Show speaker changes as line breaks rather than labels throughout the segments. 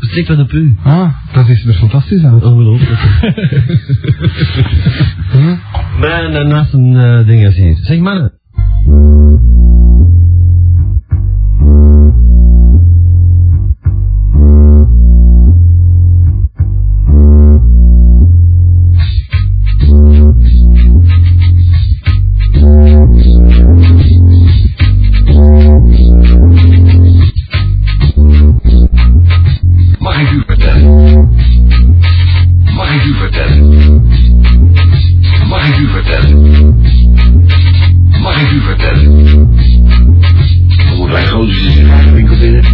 Het lijkt wel op u.
Ah, dat is er fantastisch uit.
Ongelooflijk.
Hm?
Maar daarnaast een eh, ding als hier. Zeg mannen.
Mag ik u vertellen? Mag ik u vertellen? Mag ik u vertellen? Mag ik u vertellen? Hoe mijn gozer is in haar winkel binnen.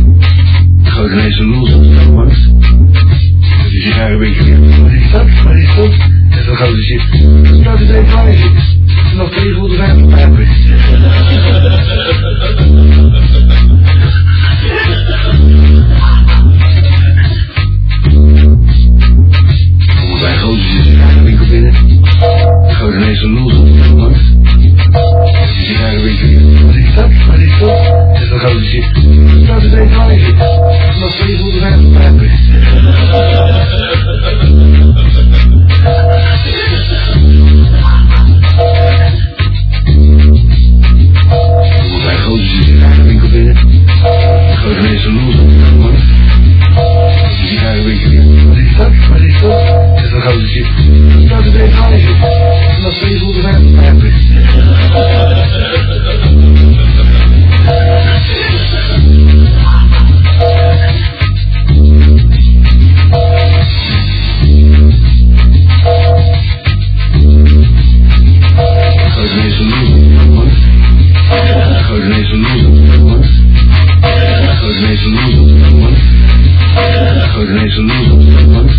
Gooit ineens een lul op de langs. Het is in haar winkel. Wat is dat? Wat is dat? En dan gaan ze zitten. Nou, de twee paarden zitten. En dan twee goede vijf pijpen. Hoe mijn gozer is in haar winkel binnen. Gooit ineens een lul op de langs. Die zijn daar een beetje, wat is dat, wat is dat? En dan gaan we zitten. Nou, dat weet ik wel niet. Maar twee voelde wij op hebben. Mijn gozer zit in de winkel binnen. Grote mensen los op de man. Die zijn een beetje, wat is dat, wat is dat? En dan gaan we zitten. Nou, dat weet ik wel niet. Maar twee voelde wij op hebben. Grote mensen los op de man. Grote mensen los op de man. Grote mensen los op de man. Grote mensen los op de man.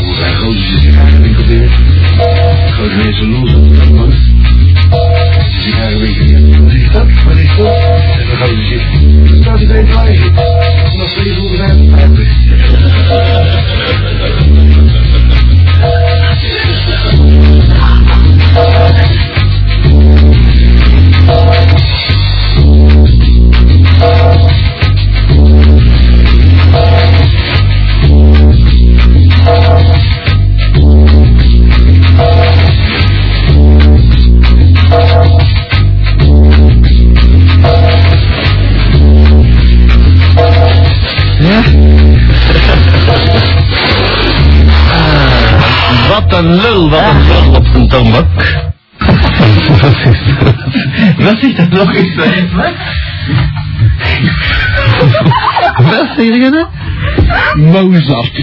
Hoe zijn grote zitten in haar winkel binnen? Grote mensen los op de man. Zit in haar winkel binnen. Wat is dat? Wat is dat? En dan gaan we zitten. Dan staat hij bij het huisje. En dan twee voeren zijn op pijpen.
Ja?
Ah. Wat een lul, wat een lul op zijn tombak. Wat is dat nog eens?
Wat zeg je dat? Mozart.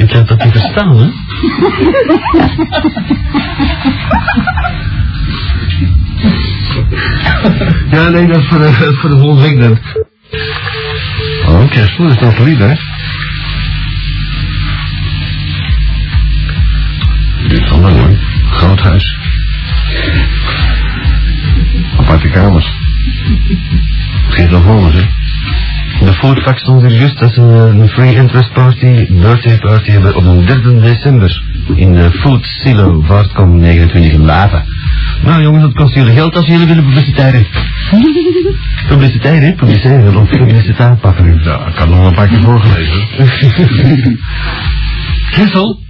Ik had dat niet verstaan, hè?
Ja, nee, dat is voor de, voor de volgende week dan. Oh, kerstboer is dat lied, hè? Dit is al lang, hoor. Groot huis. Aparte kamers. Geen nog anders, hè?
De foodfax stond hier juist dat ze een free interest party, birthday party hebben op een 3 december. In de Food Silo, Vaartkom 29 Lava. Nou jongens, dat kost jullie geld als jullie willen publiciteren. Publiciteren, hè? Publiciteren, of publiciteit pakken.
Ja, ik had nog een paar keer voorgelezen.
Kessel?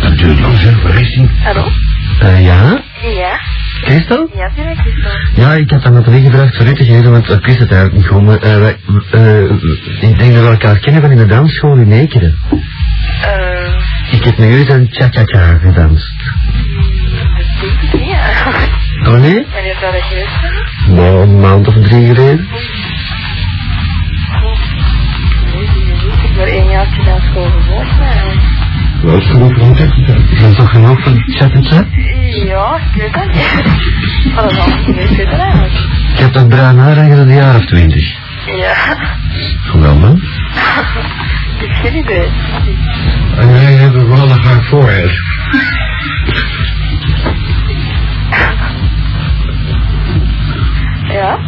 Dat duurt lang, zeg. Waar is die?
Hallo?
Eh, ja?
Ja?
Kessel?
Ja, ben ik dus wel.
Ja, ik had aan het gevraagd voor u te geven, want ik wist het eigenlijk niet goed. Maar eh, wij- eh, ik denk dat we elkaar kennen van in de dansschool in Ekeren.
Eh,
Ik heb met u dan cha-cha-cha gedanst.
dat denk ik niet.
Oh nee?
Wanneer zou dat geweest zijn?
Nou, een maand of drie geleden.
Nee, die is niet. Ik heb maar één jaartje na school gewoond. maar-
Wel genoeg van Ik ben toch genoeg van cha-cha-cha?
Ja, ik weet dat niet. Wat een halve week zitten eigenlijk.
Ik heb dat bruin haar eigenlijk een jaar of twintig.
Ja,
Hoe dan, man?
ik heb geen idee.
En wij hebben wel een haar vooruit.
Ja?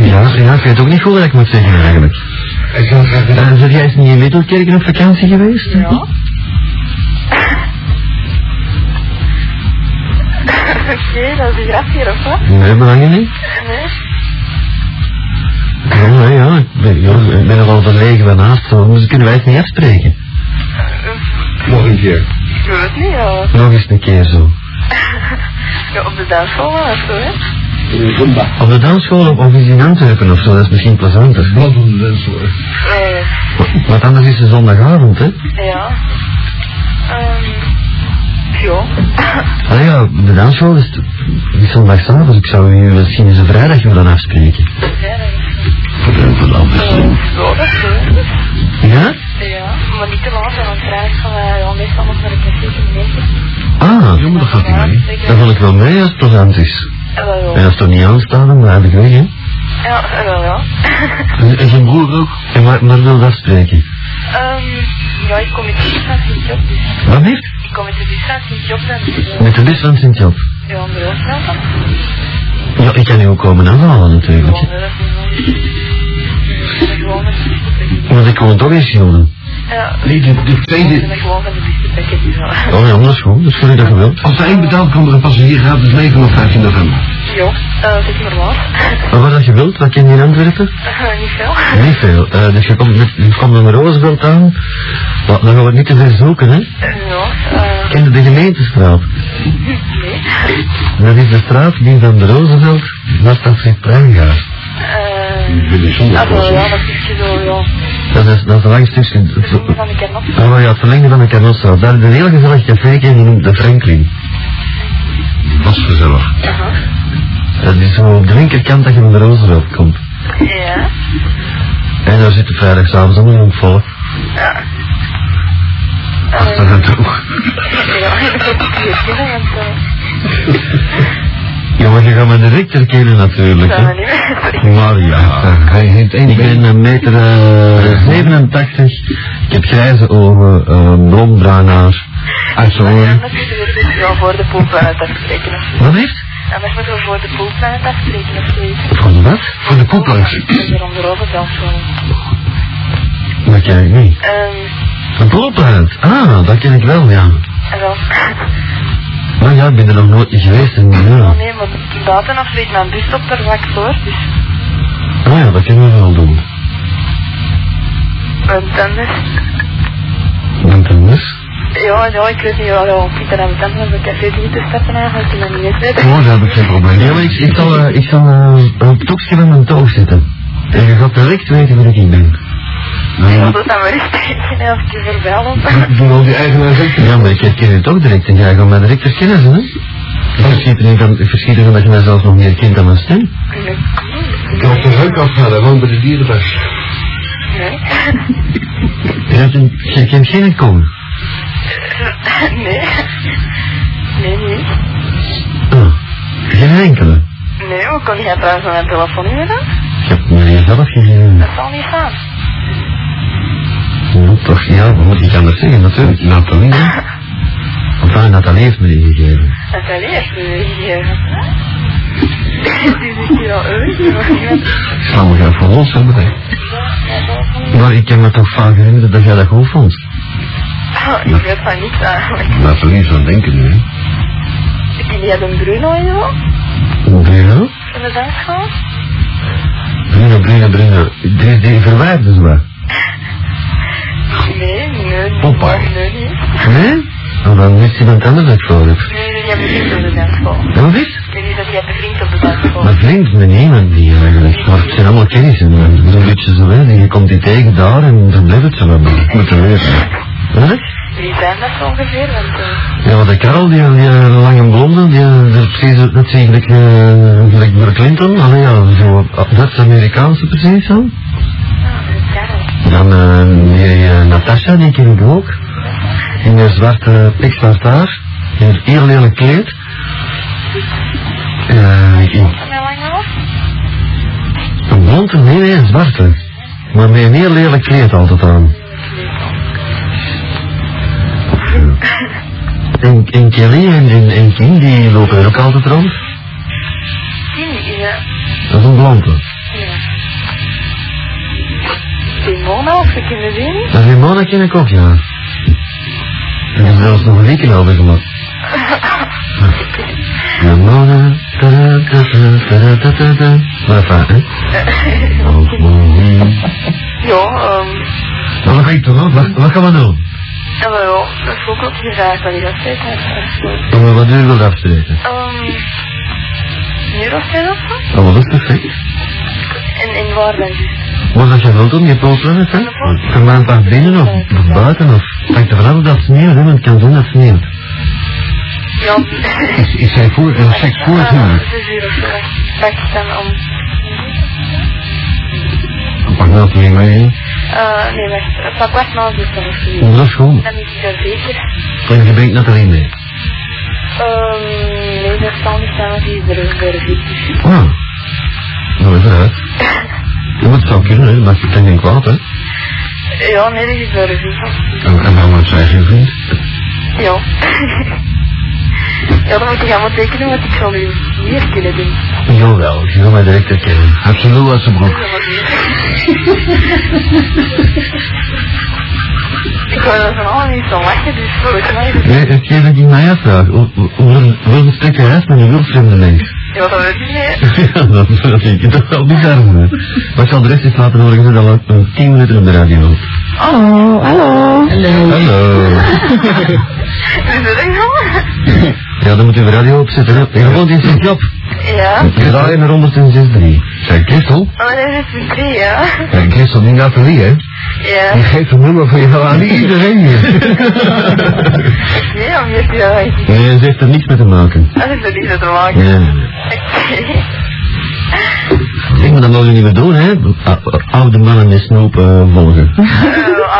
Ja, ja, ik weet ook niet goed wat ik moet zeggen eigenlijk.
Ik zou graag willen...
Eh, Zijn jij eens niet in Middelkerken op vakantie geweest?
Ja? Oké, dat is een grap hier, of wat?
Nee, belangen niet.
Nee?
ben nogal verlegen van haast, dus kunnen wij het niet afspreken.
Nog een keer.
Ik weet het niet, ja.
Nog eens een keer zo.
ja op de dansschool was het zo, hè.
Zumba.
Op de dansschool of, of eens in Antwerpen of zo, dat is misschien plezanter.
Bladdende dansvoer.
Nee.
Want anders is het zondagavond, hè?
Ja. Ehm. Ja.
Ah ja, de dansschool is, is zondagavond. Ik zou u misschien eens een vrijdag willen afspreken.
Ja, dat is-
Vrijdag afspreken.
Eh, Ja, dat is goed.
Ja?
Ja, maar niet te laat, want vrijdag gaan we eh, ja, meestal nog naar de klassiek in Nederland.
Ah,
Jongen, dat gaat niet mee.
dat wil ik wel mee als het plezant is.
Ja, wel,
En
ja.
als het er niet aanstaan, dan blijf ik weg, hè?
Ja, wel, ja.
En, zijn broer ook? En maar, maar wil dat spreken?
Ehm, ja, ik kom met de bus van Sint-Job, dus...
Wat heeft?
Ik kom met de bus van Sint-Job, dan is het...
Met de bus van Sint-Job.
Ja, om de hoofdnaam van.
Ja, ik kan u ook komen afhalen natuurlijk.
Gewoon,
hè.
hè, dat is niet moeilijk. Ik ben gewoon van de bus te pakken.
Want ik kom toch eens schilderen.
Ja,
Nee, de, de
ik
tweede...
ben gewoon van de bus te pakken, dus ja.
Oh ja, dat is goed. Dat is voor u dat geweld.
Als er één betaald kan er een passagier gaat, dus 9 of 15 november.
Ja, eh, zeg maar wat.
Maar wat dat je wilt, wat ken je in Antwerpen?
Eh, Niet veel.
Niet veel. Eh, dus je komt, met, je komt naar Roosevelt aan. Wat, dan gaan we het niet te ver zoeken, hè?
Ja, eh,
Ken je de gemeentestraat?
nee.
Dat is de straat die van de Roosevelt naar dat Sint-Plein gaat.
Eh,
Jullie
ah, wel, ja, dat is zo, ja.
Dat is, dat is langs tussen... het-
Ik ben van de kernop.
Ah, maar ja, het verlengde van de Canossa. Daar is een heel gezellig café die noemt de Franklin.
Dat is gezellig.
Dat is zo op de linkerkant dat je naar de Roosevelt komt.
Ja.
En daar zitten vrijdagavond allemaal jong volk.
Eh,
Dat is ook.
Ja, ik heb het niet gezien, want eh,
Ja, maar je gaat me direct herkennen natuurlijk.
dat zijn we
Hè.
niet meer.
Maar ja,
Hij heeft één
ik
been.
ben een meter eh, 87. Ik heb grijze ogen, eh, blond bruin haar. Ah,
En
Achterhoorn.
dan moeten we dus ja, voor de poolplanet afspreken of zo.
Wat heeft?
En dan moeten we voor de poolplanet afspreken of zoiets.
Van wat?
Voor de koelplaats.
Dat is er om de rozenbel van.
Dat ken ik niet.
Ehm,
Een poolplaat? Ah, dat ken ik wel, ja.
en wel.
Nou ja, ik ben er nog nooit niet geweest en
Oh
ja.
nee, maar buiten of zoiets, mijn bus stopt er vlak voor. Dus
Ah ja, dat kunnen we wel doen.
mijn tanden.
Want anders...
Ja, ja, ik weet niet waarom. Ik ben aan mijn tanden op een café niet te stappen eigenlijk. Ik ben niet eens weten.
Oh, daar heb ik geen probleem. Ja, maar ik, ik zal, eh, ik zal eh, op het hoekje van mijn toog zitten. En je gaat direct weten wie ik ben.
Ik
Ja,
wil dan maar eens tekenen als ik je voorbij loop.
Doen al die eigenaar zeggen.
ja, maar ik herken het ook direct en jij gaat mij direct herkennen, hè? Ik verschiet er niet van- ik verschiet ervan dat je mij zelfs nog meer kent dan mijn stem.
Ik had de reuk afgaan, hij woont bij de dierenbus.
Nee.
Je, hebt een, je kent geen kom.
Nee. Nee, niet.
Ah, geen enkele.
Nee, hoe kon jij trouwens naar mijn telefoonnummer dan?
Ik heb mij zelf gegeven.
Dat zal niet gaan.
Ja, toch, ja, wat moet ik anders zeggen natuurlijk. Nathalie, hè? Enfin, Nathalie heeft me die gegeven.
Dat zal eerst gegeven. Die zit hier al uit, die mag niemand.
Ik zal me graag voor ons hebben, hè. Maar ik kan me toch vaak herinneren dat jij dat goed vond.
Oh, Ik weet van ah, niks eigenlijk.
Nathalie is aan het denken nu, hè?
Ken jij de Bruno en zo?
Bruno?
Van de dansschool?
Bruno, Bruno, Bruno. Die, die verwijt dus wat.
Nee, nee, nee.
Popeye.
Nee, niet.
Nee? Nou, dan wist iemand anders dat ik voor heb.
Nee, nee, jij bent niet op de dansschool.
En wat is?
Ik weet niet of jij een vriend op de dansschool
Dat vriend me niemand die eh, eigenlijk. Maar het zijn allemaal kennissen. maar het is Een beetje zo, hè. Je komt die tegen daar en dan blijft het zo. Ik moet er weten. Wat?
Wie zijn dat zo ongeveer? Want eh,
Ja, maar de Karel, die, die eh, lange blonde, die eh, er precies uit- net zie gelijk, eh, gelijk Bill Clinton. Allee, ja, zo, eh, dat is Amerikaanse precies dan.
ja, een Karel.
Dan eh, die eh, Natasha, die ken ik ook. In haar zwarte, pikzwart haar. In haar heel lelijk kleed. Eh, in-
Van mij lang nog?
een blonde, nee, nee, een zwarte. Maar met een heel lelijk kleed altijd aan. En, en Kelly en, en, en Kim, die lopen er ook altijd rond.
Tien, ja.
Dat is een blonde.
Ja. Simona, of ze kunnen zien?
Dat Ramona ken ik ook, ja. En dat is zelfs nog een weekend over gemaakt. Ramona, tada, tada, tada, tada, tada. Maar fijn, hè? Oh, mooi.
Nee, Ja, ehm,
Maar wat ga ik doen? Wat, wat gaan we doen?
en wel, dat is ook nog gevraagd dat ik dat steeds heb.
Jongen, wat duur wil je afspreken?
Ehm, Neurostein of zo?
Oh, dat is perfect.
En, en waar dan juist?
Wat dat je wilt doen, je polplanet, hè? Vermaand aan binnen of, of buiten of... Het hangt ervan af of dat sneeuwt, hè, want het kan zijn dat het sneeuwt.
Ja,
Is, is zij voor, eh, seks voor het
Eh,
huwelijk?
zes uur of zo. Pak ik dan om.
Pak nou twee mee, hè?
Eh, nee, wacht. Pak kwart na zes dan of zo.
Oh, dat is goed.
Dan is ik er zeker.
En je brengt Nathalie mee.
Ehm, nee, dat zal niet staan, want die is er ook weer zeker.
Ah. Nou, even uit. Ja, maar het zou kunnen, hè? Dat maakt je geen kwaad, hè?
Ja, nee, die is er zeker.
En, en waarom heeft zij geen vriend?
Ja. Ja, dan moet ik allemaal tekenen, want ik zal u hier kunnen doen.
Jawel, je wil mij direct herkennen. Heb ze lul uit zijn broek?
Ik wil er van allemaal niet zo lachen, dus voor het mij.
Nee, het jij dat ik mij afvraag. Hoe- hoe- hoe- Hoeveel stuk je hebt met een wildvreemde mens?
Ja, dat weet ik niet.
Ja, dat dat vind ik toch wel bizar. hè. Maar ik zal de rest eens laten horen. Ik zit al een- een 10 minuten op de radio. Oh,
Hallo, hallo.
Hallo.
Is dat echt zo?
Ja, dan moet je de radio opzetten. Hè. Je woont in Sint-Job.
Ja.
Draai naar 106.3. Zijn Christel?
Oh, dat is een drie, ja.
Ja, Christel, die Nathalie, hè?
Ja.
geeft een nummer van jou aan iedereen hier.
Nee, om hier te gaan.
Nee, ze heeft er niks mee te maken.
Ah, Dat is er niet zo te maken.
Ja.
Oké.
Ik moet dat mogen we niet meer doen, hè? O- Oude mannen met snoep eh, volgen.
Eh,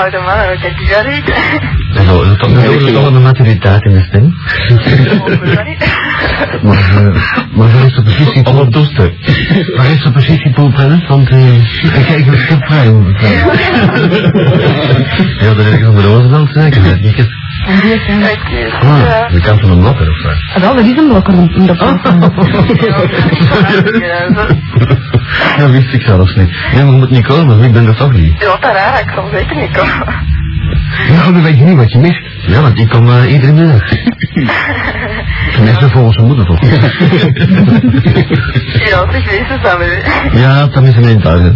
Oude man, wat heb je dat niet?
Zo, dat kan natuurlijk wel een maturiteit in de stem. Maar, eh, maar waar is de positie? Alle doste. Waar is de positie Paul Want eh, ik kijk een stuk vrij over Ja, dat is onder de Roosevelt zeker. hè? Ik heb-
En die is hem.
Oké.
Ah,
Ja.
de kant van een blokker of zo.
Ah, wel, dat is een blokker om om dat te
Dat wist ik zelfs niet. Nee, maar je moet niet komen, want ik ben er toch niet.
Ja, dat raar, ik zal zeker niet komen.
Ja, dan weet je niet wat je mist. Ja, want die kwam eh, iedere middag. Tenminste volgens zijn moeder toch.
Ja, zeg, wees het dan weer.
ja, dat is een eindtuin. hè.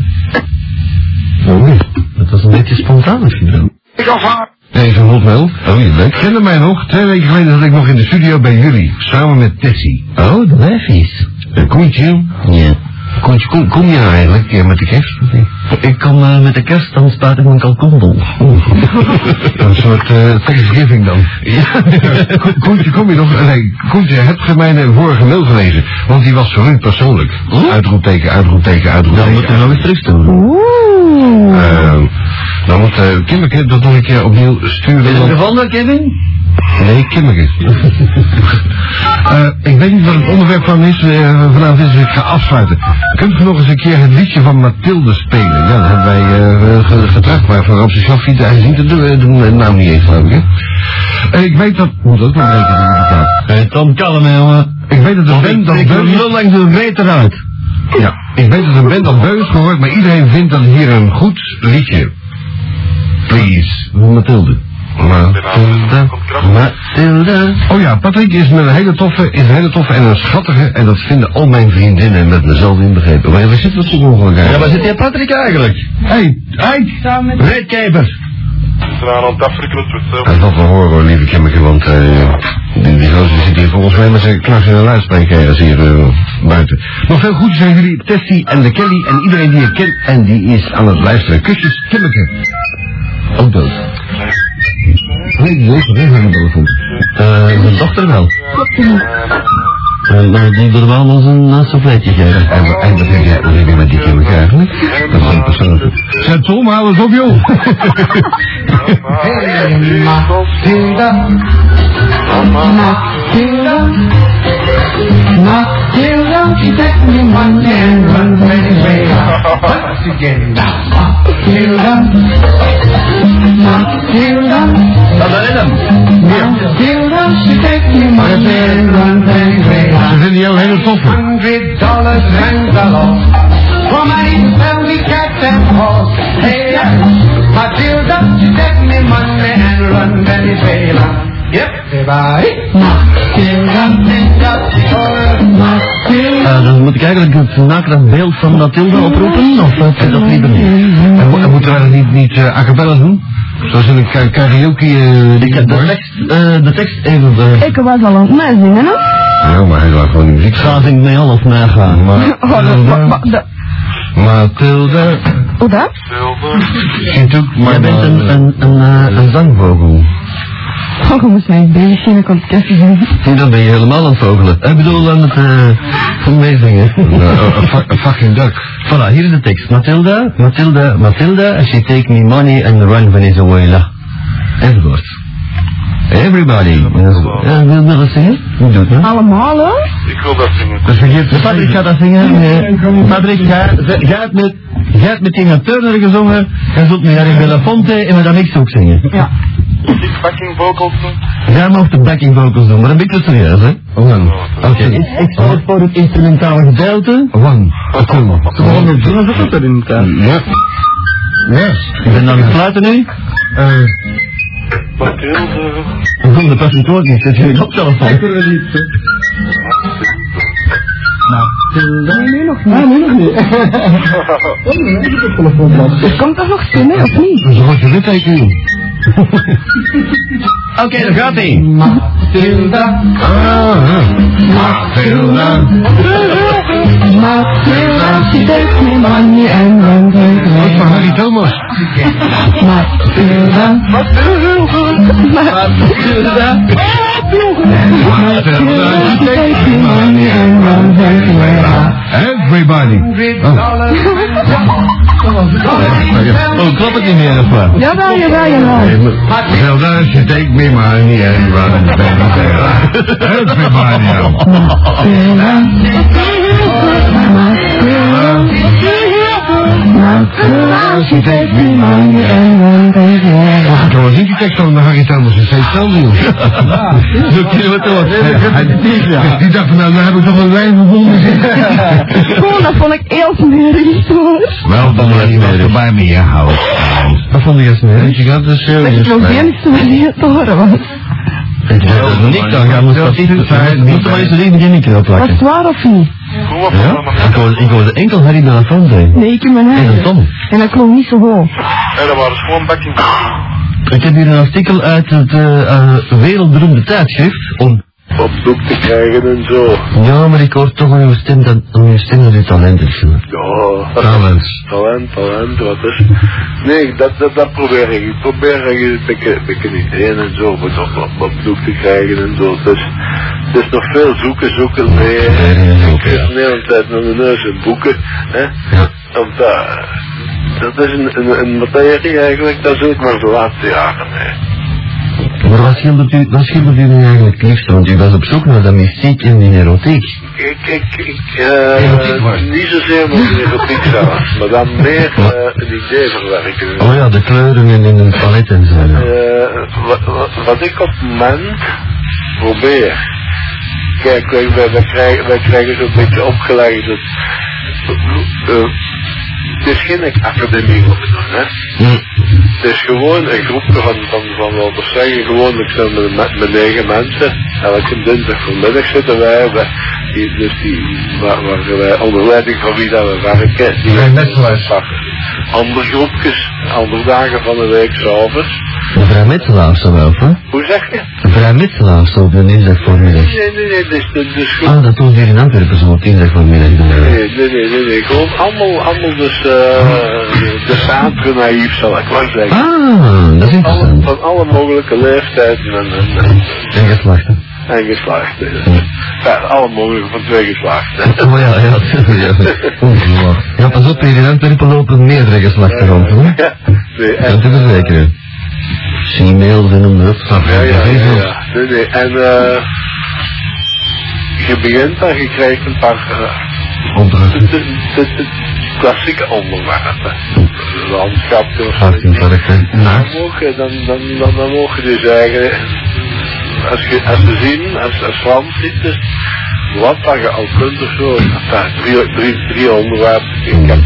Nou, nee. dat was een beetje spontaan misschien wel.
Ik afhaar.
Nee, zo goed wel. Oh, je bent.
Kende mij nog, twee weken geleden zat ik nog in de studio bij jullie, samen met Tessie.
Oh, de wijfies.
En Koentje,
Ja.
Koentje, kom, kom je nou eigenlijk eh, met de kerst?
Ik kom eh, met de kerst, dan staat ik mijn kalkoendel.
Oh. Een soort eh, Thanksgiving dan.
Ja.
Ko- Koentje, kom je nog? Nee, Koentje, heb je mijn eh, vorige mail gelezen? Want die was voor u persoonlijk.
Huh?
Uitroepteken, uitroepteken,
Dan moeten we
uitroepteken.
nog eens terug doen.
Oeh.
Ehm, dan moet eh, Kimmeke dat nog een keer opnieuw sturen. want-
gevonden, Kevin?
Nee, Kimmeke. Eh, ik weet niet wat het onderwerp van is, eh, vanavond is, dus ik ga afsluiten. Kunt u nog eens een keer het liedje van Mathilde spelen? Ja, dat hebben wij eh, ge- getracht, maar van Ramses Shaffi, hij ziet het de, de eh, naam niet eens, geloof ik. hè? En ik weet dat... Moet ook nog rekenen in die taal.
Hey, Eh, Tom, kalm, hè, jongen.
Ik weet dat een band dat
ik
beu is.
lul langs de meter uit.
Ja, ik weet dat een band dat beu is gehoord, maar iedereen vindt dat hier een goed liedje. Please.
Mathilde.
Mathilde.
Mathilde.
Oh ja, Patrick is een hele toffe, is een hele toffe en een schattige. En dat vinden al mijn vriendinnen met mezelf inbegrepen. Waar waar zit dat zo ongeluk
Ja, waar
eigenlijk?
zit die Patrick eigenlijk?
Hey, hey!
Redkijper.
Dat is wat we horen hoor, lieve Kimmeke, want eh, die, die gozer zit hier volgens mij met zijn knars en een luidspreker als hier eh, buiten. Nog veel goed zijn jullie, Tessie en de Kelly en iedereen die je kent en die is aan het luisteren. Kusjes, Kimmeke. Ook dood. Nee, die is er weg aan de telefoon.
Eh, zijn dochter wel. Eh, maar die wil wel ons een uh, souffletje geven.
En, wa- en wat heb jij wat heb jij met die Kimmeke eigenlijk? Dat is een persoonlijke... Zet Tom, hou eens op joh!
Ah,
Matilda. Matilda. Matilda, she takes me one and runs many ways. Once again, Matilda. Matilda.
Dat is hem.
Matilda, she takes me one and runs many ways.
Ze vinden jou hele toffe.
Hundred dollars and a lot. For my family cat and horse. Hey, yeah. Matilda, she take me money and run very Yep, goodbye. Matilda, Matilda, Matilda.
Eh, dan moet ik eigenlijk het naakdag beeld van Matilda oproepen, of eh, is dat liever niet?
En, mo- en moeten wij dat niet, niet eh, a cappella doen? Zoals in een ka- karaoke... eh
Ik heb de tekst, eh, de tekst even... eh,
Ik was al aan het meezingen, hè?
Ja, maar hij laat gewoon die muziek
Ga zingt mij al of nagaan.
Maar,
Oh,
Ừ,
dat, wa- wa- dat-
Mathilda,
hoe dat?
ziet ook maar...
Jij bent een, een, een, eh, een zangvogel.
Oh, je moest mij eens bezig zien, ik kon het kerstje zien.
Nee, dan ben je helemaal aan het vogelen. Ik bedoel, aan het eh, meezingen.
Een fucking duck.
Voilà, hier is de tekst. Matilda, Matilda, Matilda, she take me money and run Venezuela. Enzovoort. Everybody. Enzovoort. Ja, wil je dat zingen? Hoe doet het?
Allemaal, hè?
Dus vergeet de Patrick gaat dat zingen. eh, Patrick, jij jij hebt met, jij hebt met Tina Turner gezongen. Jij zult met Harry Belafonte en met Amix ook zingen.
Ja.
Jij mag de backing vocals doen, maar een beetje serieus, hè?
One.
Oké, ik, ik zal voor het instrumentale gedeelte.
One. Kom
Gewoon
op.
doen alsof dat in elkaar.
Ja. Yes.
Ik ben aan het fluiten nu.
Eh,
eh,
Kom, dat past het ook niet. Zet je niet op telefoon.
Nee, nu nog niet. Nee, nu nog niet. Er komt toch nog zin, hè, of niet?
zo wordt er je litteken doen.
Oké, daar gaat ie.
Matilda,
Ah, ja. Mathilda.
Matilda, she takes me money and runs
Dat is
away.
van Harry Thomas.
Matilda,
Matilda,
Matilda, she takes me money and runs away.
Everybody. Oh,
Oh, klopt het niet meer of wat?
Jawel, jawel, jawel.
Zelda, she take me money and run Venezuela. Everybody.
Matilda, she takes me money and runs away.
Ik was niet die tekst van de Harry Thomas, dat is hetzelfde jongens. Zo kunnen we toch. Die dacht van nou, nou heb ik toch een lijn gevonden.
Gewoon, dat vond ik heel smerig, hoor.
Wel, dan blijf je bij me in houden. Wat vond je smerig? Je gaat dus
Dat je
serieus.
het nog geen te horen was.
Niks dan, gaan we dat niet zijn. Moeten we eens even geen micro
Was
plakken.
het waar of niet?
Ja? Ik hoorde, ik hoorde enkel Harry de la Fonte.
Nee, ik in mijn
En
eigen.
Tom.
En dat klonk niet zo hoog.
Ik heb hier een artikel uit het eh, eh, wereldberoemde tijdschrift. Om...
op zoek te krijgen en zo.
Ja, maar ik hoor toch aan uw stem dat, aan uw stem dat u talent is. hè.
Ja,
Talent.
talent, talent, wat is. Nee, dat, dat, dat probeer ik. Ik probeer eigenlijk een beetje, een beetje niet heen en zo, maar op, op, op zoek te krijgen en zo. Dus het is nog veel zoeken, zoeken, nee. Ik zit de hele tijd met mijn neus in boeken, hè. Want dat, dat is een, een, een materie eigenlijk, dat is ook maar de laatste jaren, hè.
Maar wat schildert, u, wat schildert u nu eigenlijk het liefst? Want u was op zoek naar dat mystiek en die erotiek.
Ik, ik, ik, eh, niet zozeer nog in erotiek zelf, maar dan meer eh, een idee verwerken.
Oh ja, de kleuren en, en het palet en zo. ja.
Eh, wat, wat- wat ik op het moment probeer. Kijk, wij, wij, wij krijgen, wij krijgen zo'n beetje opgelegd dat. eh, het is geen academie wat we doen, hè?
Nee.
Het is gewoon een groepje van, van, van laten we zeggen, gewoon, ik zeg met, met, met negen mensen. Elke dinsdag vanmiddag zitten wij, wij die, dus die, waar, waar wij onder leiding van wie dat we werken. Die
Mijn metselaars.
Andere groepjes, andere dagen van de week, s'avonds.
Een vrijmetselaarster wel, hè?
Hoe zeg je?
Een vrijmetselaarster op de dinsdag voormiddag.
Nee, nee, nee, dus, dus, dus gewoon.
Ah, dat doen ze hier in Antwerpen zo op dinsdag voormiddag. doen we.
Nee, nee, nee, nee, nee, gewoon allemaal, allemaal dus, eh de samen naïef zal ik maar zeggen.
Ah, dat is
Alle,
interessant.
van alle mogelijke leeftijden en, en, en,
En geslachten.
en geslachten. Ja, alle mogelijke van twee geslachten.
Oh ja, ja. ja. Ongelooflijk. Ja, pas op, hier in Antwerpen lopen meerdere geslachten rond, hoor.
Ja, nee, en,
Dat te verzekeren. Gmail en om de opstap.
ja, ja, ja, ja. Nee, nee, en eh je begint en je krijgt een paar eh,
Opdrachten.
de- de- de- de klassieke onderwerpen. Landschap,
Hartinfarcten.
Dan
Naakt.
mogen, dan, dan, dan, dan mogen die zeggen, als je, als je zien, als, als landzitters, wat dat je al kunt of zo, enfin, drie, drie, drie onderwerpen. Ik heb,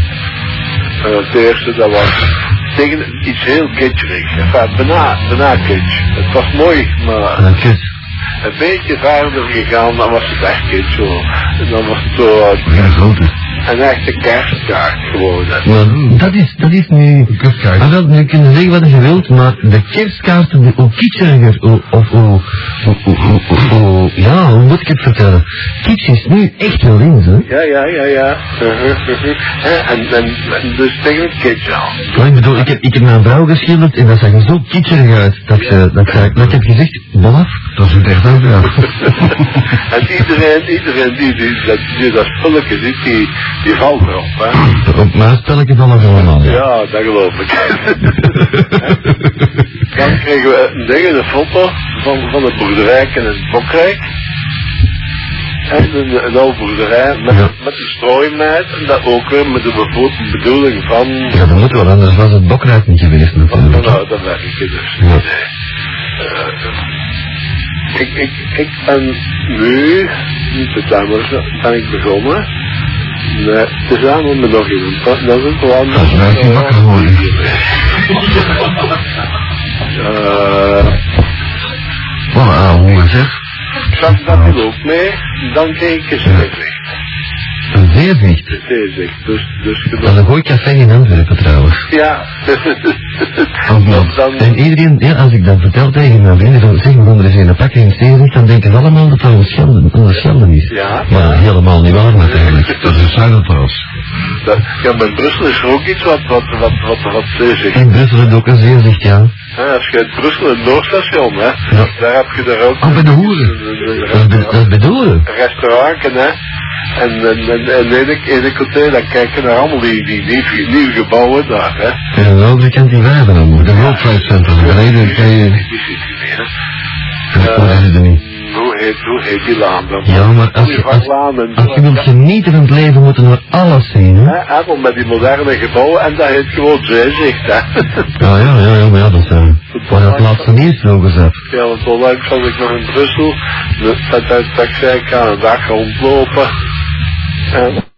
eh, het eerste dat was tegen iets heel kitscherigs, enfin, bijna, bijna kitsch. Het was mooi, maar
En een kus.
een beetje verder gegaan, dan was het echt iets zo. En dan was het zo eh,
Ja, grote.
een echte kerstkaart geworden.
Maar dat is, dat is nu...
Kutkaart.
Ah, wel, nu kun je zeggen wat je wilt, maar de kerstkaarten, die- hoe kitseriger, hoe- of hoe, hoe, hoe, hoe- hoe- hoe- Ja, hoe moet ik het vertellen? Kits is nu echt wel in, hè?
Ja, ja, ja, ja. Eh, en, en, en dus tegen het kindje aan.
Maar ik bedoel, ik heb, ik heb mijn vrouw geschilderd en dat zag er zo kitscherig uit. Dat, ze, dat, ze, dat ik heb gezegd, bolaf.
Dat is het echt ook, ja.
En iedereen, iedereen die, die, dat, die dat spulletje ziet, die, die valt erop. Hè.
Op mijn spelletje vallen ze allemaal. ja.
Ja, dat geloof ik. Dan kregen we een ding, een foto van, van het boerderij in het Bokrijk. En een, een oude boerderij met,
Ja.
met een strooimeid. En dat ook weer met de bevo- bedoeling van...
Ja, dat moet wel, anders was het bokruid niet geweest
van
natuurlijk.
nou, dat werk ik dus.
Ja.
Eh, ik, ik, ik ben nu, niet te klaar, ben ik begonnen. Nee, tezamen met nog iemand. Dat dat is ook wel een...
Dat is wel geen wakker geworden.
Eh,
Wat een
ah,
aanhonger, zeg.
zag dat er ook mee, dan kreeg ik een zeezicht.
Een zeezicht.
Een zeezicht, dus, dus
Dat is
genoeg.
een mooi café in Antwerpen trouwens.
Ja.
Ook
dan,
nog. En
dan,
iedereen, ja, als ik dat vertel tegen mijn vrienden, van, zeg, we gaan er eens een pakken in het zeezicht, dan denken ze allemaal dat dat een schelden, een schelden is.
Ja.
Maar helemaal niet waar natuurlijk.
Dat is een trouwens.
dat, ja, maar in Brussel is er ook iets wat, wat, wat, wat, wat zeezicht.
In Brussel heb je ook een zeezicht, ja.
Hè, als je uit Brussel een Noordstation, hè,
Ja.
daar heb je daar ook
Oh, bij de hoeren. Dat is, be- dat
een
is bedoelen.
restaurant, hè. En, en, en, en ene, ene hotel, dan kijk je naar allemaal die, die nieuw, nieuwe gebouwen daar, hè.
En aan de andere kant die wijven dan moeten.
De World Trade Center. Beneden kan je...
Die zit hier, hè.
Dat is er niet.
Hoe heet, hoe heet die laan dan?
Ja, maar als je, als,
Olievaartlaan en
als je wilt genieten van het leven, moeten we alles zien, hè?
Hè, Apple met die moderne gebouwen en dat heet gewoon zeezicht, hè.
Ja, ja, ja, ja, maar ja, dat is... eh, Waar dat laatste nieuws vroeger zat.
ja, want onlangs zat ik nog in Brussel. Dat, dat, dat, dat ik zei, ik ga een dag rondlopen. En